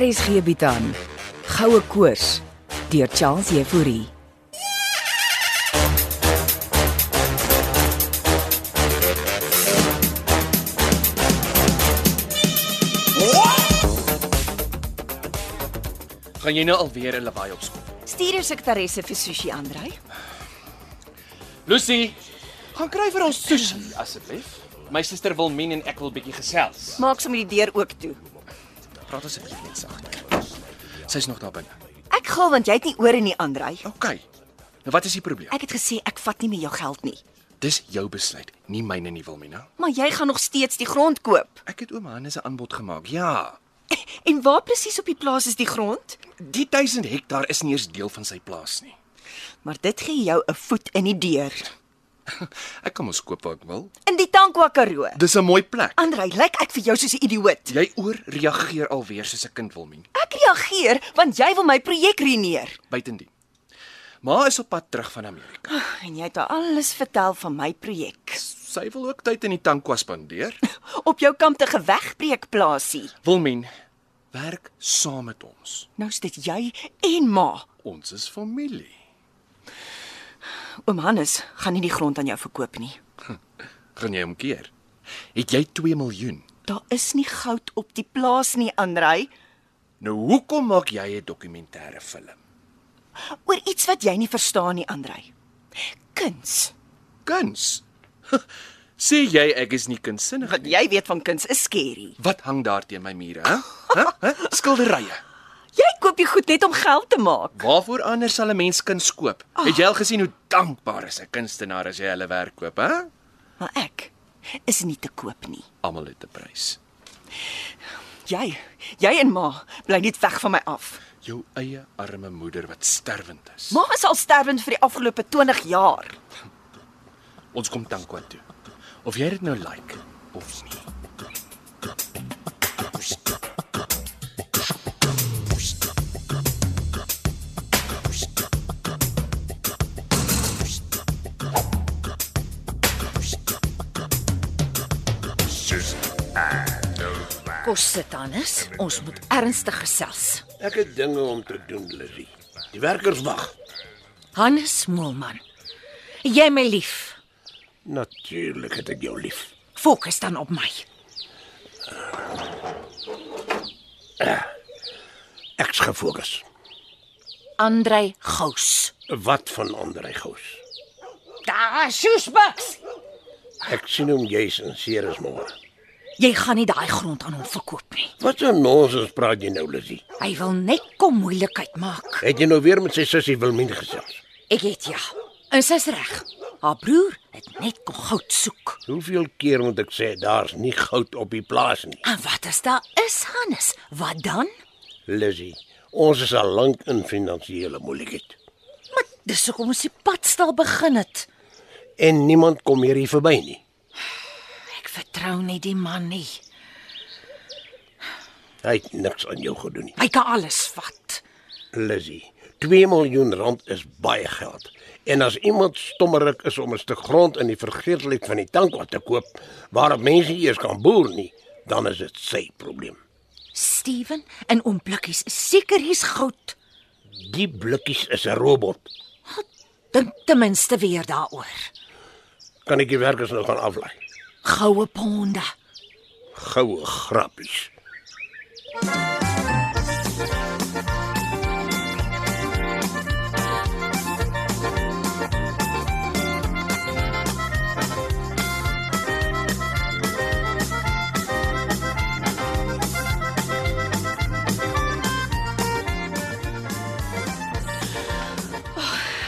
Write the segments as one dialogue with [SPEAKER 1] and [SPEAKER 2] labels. [SPEAKER 1] RSG bied aan Goue Koors deur Charles Euphorie.
[SPEAKER 2] Gaan jy nou alweer 'n lawaai opskop?
[SPEAKER 3] Stuur jou sekretaresse vir sushi Andrei.
[SPEAKER 2] Lucy, gaan kry vir ons sushi asseblief. My suster Wilmien en ek wil bietjie gesels.
[SPEAKER 3] Maak sommer die deur oop toe.
[SPEAKER 2] Praat asseblief net sagter. Sy's nog daar binne.
[SPEAKER 3] Ek gil want jy het nie ore nie Andrei.
[SPEAKER 2] OK. Nou wat is die probleem?
[SPEAKER 3] Ek het gesê ek vat nie meer jou geld nie,
[SPEAKER 2] Dis jou besluit, nie myne nie, Wilmina.
[SPEAKER 3] maar jy gaan nog steeds die grond koop.
[SPEAKER 2] Ek het oom Hannes 'n aanbod gemaak. Ja.
[SPEAKER 3] En waar presies op die plaas is die grond?
[SPEAKER 2] Die 1000 hektaar is nie eers deel van sy plaas nie.
[SPEAKER 3] Maar dit gee jou 'n voet in die deur.
[SPEAKER 2] Ek kan mos koop wat ek wil.
[SPEAKER 3] In die Tankwa Karoo.
[SPEAKER 2] Dis 'n mooi plek.
[SPEAKER 3] Andrei, lyk ek vir jou soos 'n idioot?
[SPEAKER 2] Jy oorreageer alweer soos 'n kind, Wilmien.
[SPEAKER 3] Ek reageer want jy wil my projek ruïneer.
[SPEAKER 2] Buitendien. Ma is op pad terug van Amerika.
[SPEAKER 3] En jy het haar alles vertel van my projek.
[SPEAKER 2] Sy wil ook tyd in die tankwa spandeer.
[SPEAKER 3] Op jou kamp te gewegbreek plaasie.
[SPEAKER 2] Wilmien, werk saam met ons.
[SPEAKER 3] Nou's Nou dit jy en ma.
[SPEAKER 2] Ons is familie.
[SPEAKER 3] Oom Hannes gaan nie die grond aan jou verkoop nie.
[SPEAKER 2] Gaan jy hom keer? Het jy 2 miljoen?
[SPEAKER 3] Daar is nie goud op die plaas nie, Andrei,
[SPEAKER 2] Nou hoekom maak jy 'n dokumentêre film?
[SPEAKER 3] oor iets wat jy nie verstaan nie, Andrei. Kuns.
[SPEAKER 2] Kuns. Sê jy ek is nie kunstsinnig
[SPEAKER 3] Wat
[SPEAKER 2] nie?
[SPEAKER 3] jy weet van kuns is skerry.
[SPEAKER 2] Wat hang daar teen my mure, hè? Hæ? Hæ? Skilderye.
[SPEAKER 3] Jy koop die goed net om geld te maak.
[SPEAKER 2] Waarvoor anders sal 'n mens kuns koop? Het jy al gesien hoe dankbaar is 'n kunstenaar as jy hulle werk koop, hè?
[SPEAKER 3] Maar ek is nie te koop nie.
[SPEAKER 2] Almal het 'n prys.
[SPEAKER 3] Jy, jy en ma bly net weg van my af.
[SPEAKER 2] Jou eie arme moeder wat sterwend is.
[SPEAKER 3] Ma is al sterwend vir die afgelope 20 jaar.
[SPEAKER 2] Ons kom Tankwa toe. Of jy dit nou like of nie.
[SPEAKER 4] Kos sit anders. Ons moet ernstig gesels.
[SPEAKER 5] Ek het dinge om te doen, Lizzie. Die werkers wag.
[SPEAKER 4] Hannes Moelman. Jy my lief.
[SPEAKER 5] Natuurlik het ek jou lief.
[SPEAKER 4] Fokus dan op my.
[SPEAKER 5] Ek's gefokus.
[SPEAKER 4] Andrei Gous.
[SPEAKER 5] Wat van Andrei Gous?
[SPEAKER 4] Daar, Shoesbucks.
[SPEAKER 5] Ek sien hom jy's in Ceres môre.
[SPEAKER 4] Jy gaan nie daai grond aan hom verkoop nie.
[SPEAKER 5] Wat 'n nonsens praat jy nou, Lizzie?
[SPEAKER 4] Hy wil net kom moeilikheid maak.
[SPEAKER 5] Het jy nou weer met sy sussie Wilmien gesels?
[SPEAKER 4] Ek het ja. En sy's reg. Haar broer het net kom goud soek.
[SPEAKER 5] Hoeveel keer moet ek sê daar's nie goud op die plaas nie,
[SPEAKER 4] En wat as daar is Hannes? Wat dan?
[SPEAKER 5] Lizzie? Ons is al lank in finansiële moeilikheid
[SPEAKER 4] Maar dis hoekom ons die padstal begin het.
[SPEAKER 5] en niemand kom hierdie verby nie.
[SPEAKER 4] Ek vertrou nie die man nie.
[SPEAKER 5] Hy het niks aan jou gedoen nie,
[SPEAKER 4] Hy kan alles vat.
[SPEAKER 5] Lizzie. 2 miljoen rand is baie geld. En as iemand stommerik is om 'n stuk grond in die vergeetlikheid van die tankwa te koop waarop mense nie eers kan boer nie, dan is dit sy probleem.
[SPEAKER 4] Steven en oom Blikkies is seker hier's goud.
[SPEAKER 5] Die blikkies is 'n robot.
[SPEAKER 4] Dink ten minste weer daaroor.
[SPEAKER 5] Kan ek die werkers nou gaan aflei?
[SPEAKER 4] Goue ponde.
[SPEAKER 5] Goue grappies.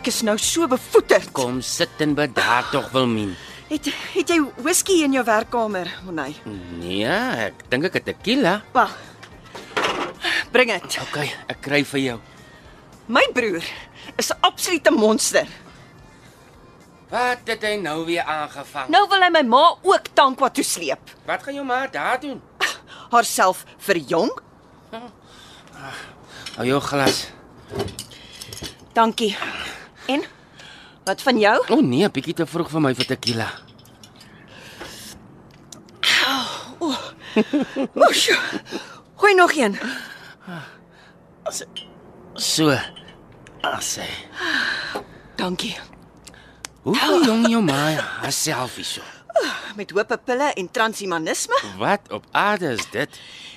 [SPEAKER 3] Ek is nou so bevoeterd.
[SPEAKER 6] Kom sit en bedaar tog Wilmien.
[SPEAKER 3] Het het jy whisky in jou werkkamer, Monay?
[SPEAKER 6] Nee, ek dink ek het tequila.
[SPEAKER 3] Wag. Bring dit.
[SPEAKER 6] OK, ek kry vir jou.
[SPEAKER 3] My broer is 'n absolute monster.
[SPEAKER 6] Wat het hy nou weer aangevang?
[SPEAKER 3] Nou wil hy my ma ook tankwa toe sleep.
[SPEAKER 6] Wat gaan jou ma daar doen?
[SPEAKER 3] Haarself verjong.
[SPEAKER 6] Hou jou glas.
[SPEAKER 3] Dankie. En wat van jou?
[SPEAKER 6] O oh, nee, bietjie te vroeg vir my vir tequila.
[SPEAKER 3] Oesjo. Gooi nog een.
[SPEAKER 6] So. Asse.
[SPEAKER 3] Dankie.
[SPEAKER 6] Hoe hou jong jou ma haarself hierso?
[SPEAKER 3] Met hope pille en transhumanisme,
[SPEAKER 6] Wat op aarde is dit?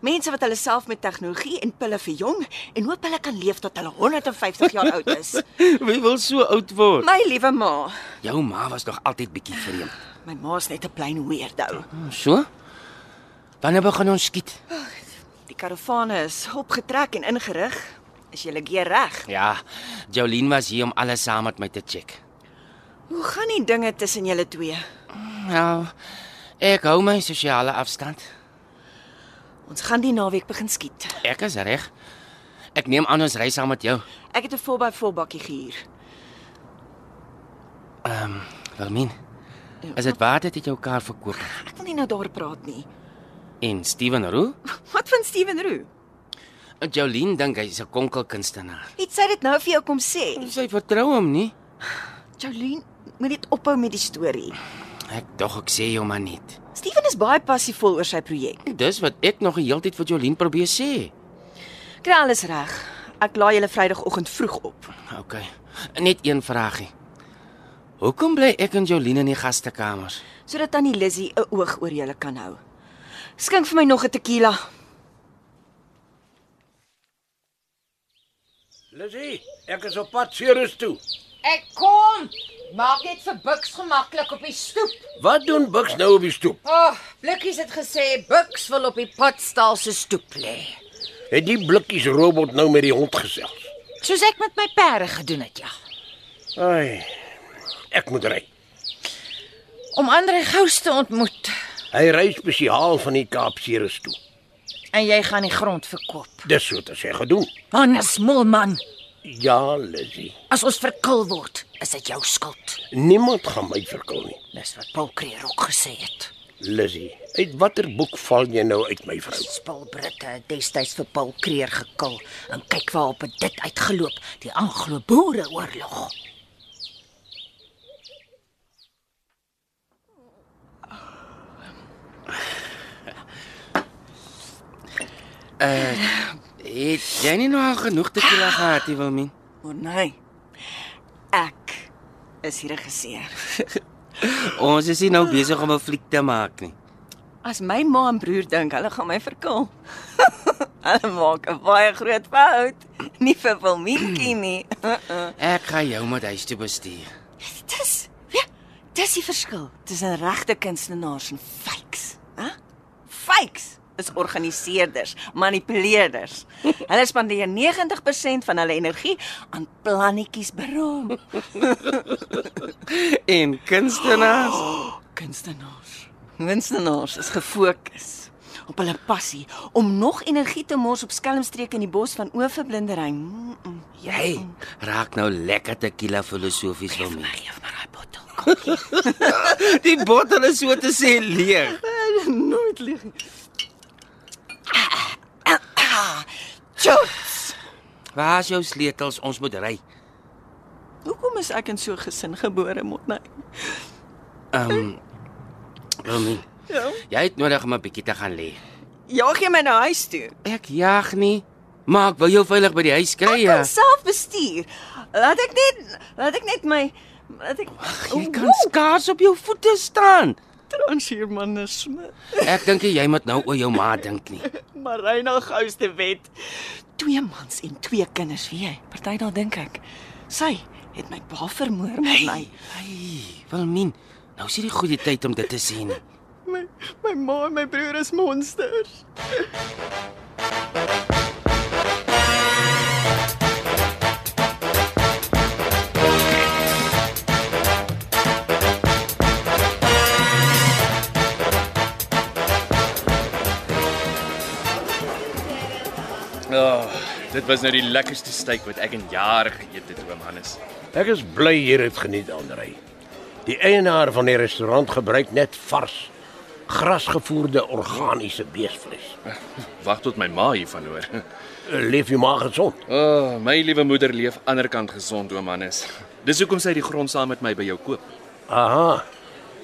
[SPEAKER 3] mense wat hulle self met tegnologie en pille verjong en hoop hulle kan leef tot hulle 150 jaar oud is.
[SPEAKER 6] Wie wil so oud word?
[SPEAKER 3] My liewe ma,
[SPEAKER 6] Jou ma was nog altyd bietjie vreemd.
[SPEAKER 3] my ma's net 'n plain weirdo.
[SPEAKER 6] So? Wanneer begin ons skiet?
[SPEAKER 3] Die karavane is opgetrek en ingerig. Is julle gear reg?
[SPEAKER 6] Ja, Jolien was hier om alles saam met my te check.
[SPEAKER 3] Hoe gaan die dinge tussen julle twee?
[SPEAKER 6] Nou, ek hou my sosiale afstand.
[SPEAKER 3] Ons gaan die naweek begin skiet.
[SPEAKER 6] Ek is reg. Ek neem aan ons ry saam met jou.
[SPEAKER 3] Ek het 'n 4x4 bakkie gehuur.
[SPEAKER 6] Wilmien. Is dit waar dit het jou kar verkoop?
[SPEAKER 3] Ek wil nie nou daaroor praat nie.
[SPEAKER 6] En Steven Roo?
[SPEAKER 3] Wat van Steven Roo?
[SPEAKER 6] Jolien dink hy's 'n konkelkunstenaar.
[SPEAKER 3] Het sy dit nou vir jou kom sê?
[SPEAKER 6] Sy vertrou hom nie.
[SPEAKER 3] Jolene, moet net ophou met die storie.
[SPEAKER 6] Ek dog ek sê jou maar net.
[SPEAKER 3] Steven is baie passievol oor sy projek.
[SPEAKER 6] Dis wat ek nog die hele tyd vir Jolien probeer sê.
[SPEAKER 3] Kry alles reg. Ek laai julle Vrydagoggend vroeg op.
[SPEAKER 6] OK. Net een vragie. Hoekom bly ek en Jolien in die gastekamers?
[SPEAKER 3] sodat tannie Lizzy 'n oog oor julle kan hou. Skink vir my nog 'n tequila.
[SPEAKER 5] Lizzie, ek is op pad Ceres toe.
[SPEAKER 4] Ek kom. Maak net vir Buks gemaklik op die stoep.
[SPEAKER 5] Wat doen Bucks nou op die stoep?
[SPEAKER 4] O, oh, Blikkies het gesê Buks wil op die padstal se stoep lê.
[SPEAKER 5] Het die blikkies robot nou met die hond gesels?
[SPEAKER 4] Soos ek met my perde gedoen het, ja.
[SPEAKER 5] Ai. Ek moet ry.
[SPEAKER 4] Om ander gous te ontmoet
[SPEAKER 5] Hy ry spesiaal van die Kaap Ceres toe.
[SPEAKER 4] en jy gaan die grond verkoop.
[SPEAKER 5] Dis so te sê gedoen.
[SPEAKER 4] Hannes Molman,
[SPEAKER 5] Ja, Lizzie.
[SPEAKER 4] as ons verkil word, is dit jou skuld.
[SPEAKER 5] Niemand gaan my verkil nie.
[SPEAKER 4] Dis wat Paul Kreer ook gesê het.
[SPEAKER 5] Lizzie, uit watter boek val jy nou uit my vrou?
[SPEAKER 4] Spul Britte het destyds vir Paul Kreer gekil en kyk waarop het dit uitgeloop, die Anglo-Boereoorlog.
[SPEAKER 6] Het jy nie nou al genoeg tequila gehad, nie, Wilmien?
[SPEAKER 3] Maar nee. Ek is hier 'n geseer.
[SPEAKER 6] Ons is nie nou besig om 'n fliek te maak nie.
[SPEAKER 3] As my ma en broer dink hulle gaan my verkil. hulle maak 'n baie groot fout. Nie vir Wilmientjie nie.
[SPEAKER 6] Ek gaan jou met huis toe bestuur.
[SPEAKER 3] Dis ja, dis die verskil tussen regte kunstenaars en fakes, hè? Fakes is organiseerders, manipuleerders. Hulle spandeer 90% van hulle energie aan plannetjies beraam.
[SPEAKER 6] En kunstenaars,
[SPEAKER 3] Kunstenaars. Kunstenaars is gefokus op hulle passie om nog energie te mors op skelmstreke in die bos van oorverblindery. Mm -mm.
[SPEAKER 6] jy raak nou lekker tequila filosofies, Wilmien.
[SPEAKER 3] Geef maar daai bottel.
[SPEAKER 6] Die bottel is so te sê leeg.
[SPEAKER 3] nooit lieg nie. Ah, Chops.
[SPEAKER 6] Waar is jou sleutels? Ons moet ry.
[SPEAKER 3] Hoekom is ek in so 'n gesin gebore, Motney?
[SPEAKER 6] Wilmien,
[SPEAKER 3] Ja.
[SPEAKER 6] jy het nodig om 'n bietjie te gaan lê.
[SPEAKER 3] Jaag jy Ja, my na huis toe?
[SPEAKER 6] Ek jag nie, maar ek wil jou veilig by die huis kry.
[SPEAKER 3] Ek
[SPEAKER 6] ja.
[SPEAKER 3] kan self bestuur. Laat ek net laat ek net my laat ek
[SPEAKER 6] Jy kan skaars op jou voete staan.
[SPEAKER 3] transhumanisme
[SPEAKER 6] Ek dink nie jy moet nou oor jou ma dink nie.
[SPEAKER 3] Marina Gous te wet. Twee mans en twee kinders, weet jy? Party daar dink ek. Sy het my pa vermoor, Motney.
[SPEAKER 6] Hey, Wilmien, nou is hierdie goeie tyd om dit te sien.
[SPEAKER 3] My my ma en my broer is monsters.
[SPEAKER 2] Ja, oh, dit was nou die lekkerste steak wat ek in jare geëet het, oom Hannes.
[SPEAKER 5] Ek is bly hier het geniet Andrei. Die eienaar van die restaurant gebruik net vars, grasgevoerde organiese beesvleis.
[SPEAKER 2] Wag tot my ma hiervan hoor.
[SPEAKER 5] Leef jy maar gesond.
[SPEAKER 2] O, oh, my liewe moeder leef ander kant gesond, oom Hannes. Dis hoekom sy die grond saam met my by jou koop.
[SPEAKER 5] Aha.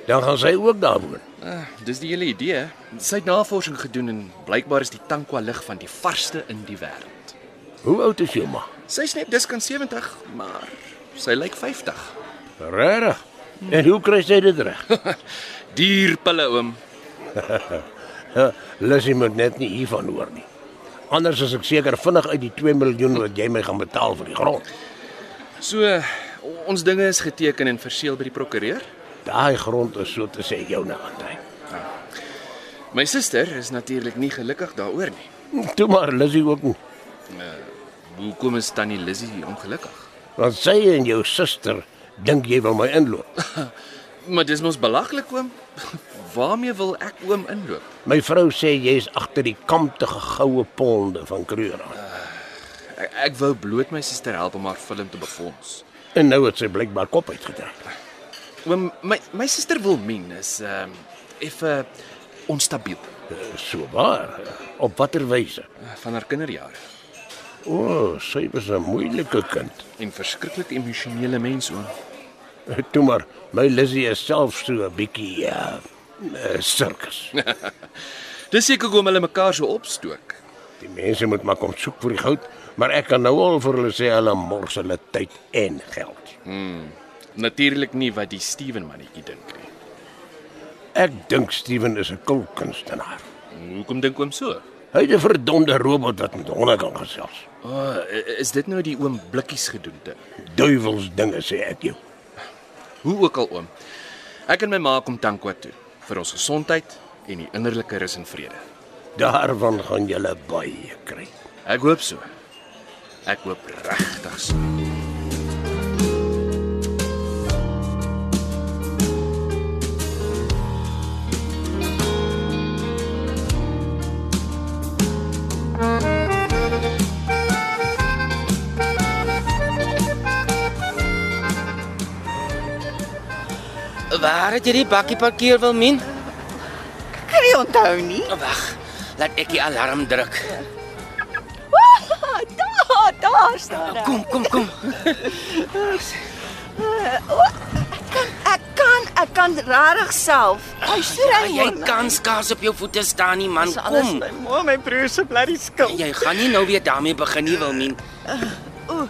[SPEAKER 5] Dan gaan sy ook daar woon.
[SPEAKER 2] Ah, Dis die hele idee. hè? Sy het navorsing gedoen en blykbaar is die Tankwa lig van die varsste in die wêreld.
[SPEAKER 5] Hoe oud is jou ma?
[SPEAKER 2] Sy's net diskant 70, maar sy lyk 50.
[SPEAKER 5] Regtig? En hoe kry sy dit reg?
[SPEAKER 2] Duur pille oom.
[SPEAKER 5] Lucy moet net nie hiervan hoor nie. Anders is ek seker vinnig uit die 2 miljoen wat jy my gaan betaal vir die grond.
[SPEAKER 2] So o- ons dinge is geteken en verseël by die prokureur.
[SPEAKER 5] Daai grond is so te sê nou joune aantrein.
[SPEAKER 2] My suster is natuurlik nie gelukkig daaroor nie.
[SPEAKER 5] Toe maar Lucy ook nie.
[SPEAKER 2] Hoekom is tannie Lizzie ongelukkig?
[SPEAKER 5] Want sy en jou suster dink jy wil my inloop.
[SPEAKER 2] Maar dis mos belaglik oom. Waarmee wil ek oom inloop?
[SPEAKER 5] My vrou sê jy's agter die kamptige goue ponde van Kreur.
[SPEAKER 2] Ek, E-, ek wou bloot my suster help om haar film te befonds.
[SPEAKER 5] En nou het sy blykbaar kop uitgetrek.
[SPEAKER 2] Oom, my my suster Wilmien is ehm um, effe onstabiel
[SPEAKER 5] Eh, So waar. Op watter wyse?
[SPEAKER 2] eh, van haar kinderjare
[SPEAKER 5] O, oh, sy was 'n moeilike kind. Eh,
[SPEAKER 2] en verskriklik emosionele mens oom.
[SPEAKER 5] Toe maar, my Lizzie is self so 'n bietjie uh, uh sirkus.
[SPEAKER 2] Dis seker hoekom hulle mekaar so opstook.
[SPEAKER 5] Die mense moet maar kom soek vir die goud, maar ek kan nou al vir hulle sê hulle mors hulle tyd en geld.
[SPEAKER 2] Natuurlik nie wat die Steven mannetjie dink nie.
[SPEAKER 5] Ek dink Steven is 'n kulkunstenaar.
[SPEAKER 2] Hoekom dink oom so?
[SPEAKER 5] Hy het 'n verdomde robot wat met honde kan gesels.
[SPEAKER 2] O, oh, is dit nou die oom blikkies gedoente?
[SPEAKER 5] Duiwels dinge sê ek jou.
[SPEAKER 2] Hoe ook al oom. Ek en my ma kom Tankwa toe vir ons gesondheid en die innerlike rus en vrede.
[SPEAKER 5] Daarvan gaan julle baie kry.
[SPEAKER 2] Ek hoop so. Ek hoop regtig so.
[SPEAKER 6] Waar het jy die bakkie parkeer wil min?
[SPEAKER 3] Kan jy onthou nie?
[SPEAKER 6] Wag, Oh, laat ek die alarm druk.
[SPEAKER 3] Ah, Daar, daar staan hy.
[SPEAKER 6] Kom, kom, kom.
[SPEAKER 3] Ek kan, ek kan rarig self. Hy sê hy
[SPEAKER 6] Jy kan skaars op jou voete staan nie, man. Kom.
[SPEAKER 3] Mooi my broer se bloody skil.
[SPEAKER 6] Jy gaan nie nou weer daarmee begin nie, Wilmien.
[SPEAKER 3] Hoe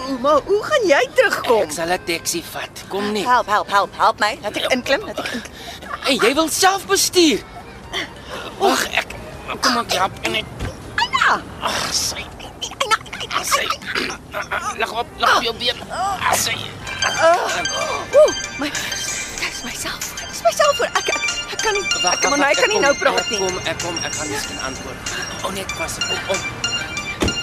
[SPEAKER 3] hoe maar hoe gaan jy terugkom?
[SPEAKER 6] Ek sal 'n taxi vat. Kom net.
[SPEAKER 3] Help, help, help, help my. Laat ek inklim, laat ek inklim.
[SPEAKER 6] Hey, jy wil self bestuur. Wag, ek kom ek help en ek
[SPEAKER 3] Anna!
[SPEAKER 6] ag, sy. Sy. Lag op, lag op jou been. Ah, Sy.
[SPEAKER 3] Ooh, my dis myself. Dis myself voor. Ek ek, ek kan nie ek, maar hy kan nie
[SPEAKER 6] ek
[SPEAKER 3] nou
[SPEAKER 6] kom,
[SPEAKER 3] praat
[SPEAKER 6] Ek
[SPEAKER 3] nie.
[SPEAKER 6] kom, ek kom, ek gaan miskien antwoord. O nee, pas op. op.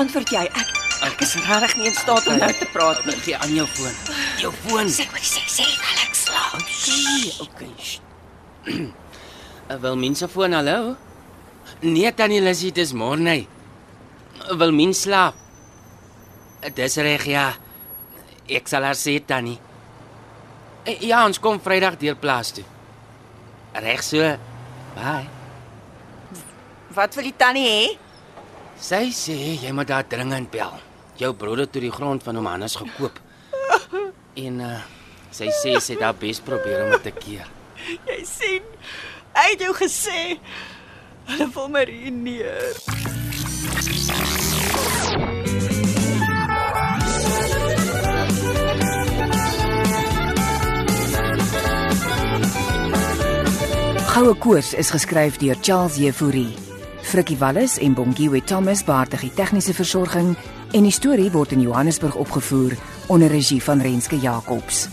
[SPEAKER 3] Antwoord jy. Ek ek is regtig nie in staat om nou te praat nie.
[SPEAKER 6] Gee aan jou foon. Jou foon.
[SPEAKER 3] Sê wat jy sê, sê Alex slaap.
[SPEAKER 6] Okay, okay. sst. Wil mense foon hallo? Nee tannie Lissy, dis Morney. Wil mens slaap? Dis reg ja. Ek sal haar sê tannie. Eh, Ja, ons kom Vrydag deur plaas toe. Reg so. Bye.
[SPEAKER 3] Wat wil die tannie hê?
[SPEAKER 6] Sy sê jy moet daar dringend bel. Jou broer het tot die grond van hom Hannes gekoop. En uh, sy sê sy het haar bes probeer om dit te keer.
[SPEAKER 3] Jy sien. Hy het jou gesê hulle wil my ruïneer.
[SPEAKER 1] Goue Koors is geskryf deur Charles Jefouri. Frikkie Wallis en Bongiwe Thomas baartig die tegniese versorging en die storie word in Johannesburg opgevoer onder regie van Renske Jacobs.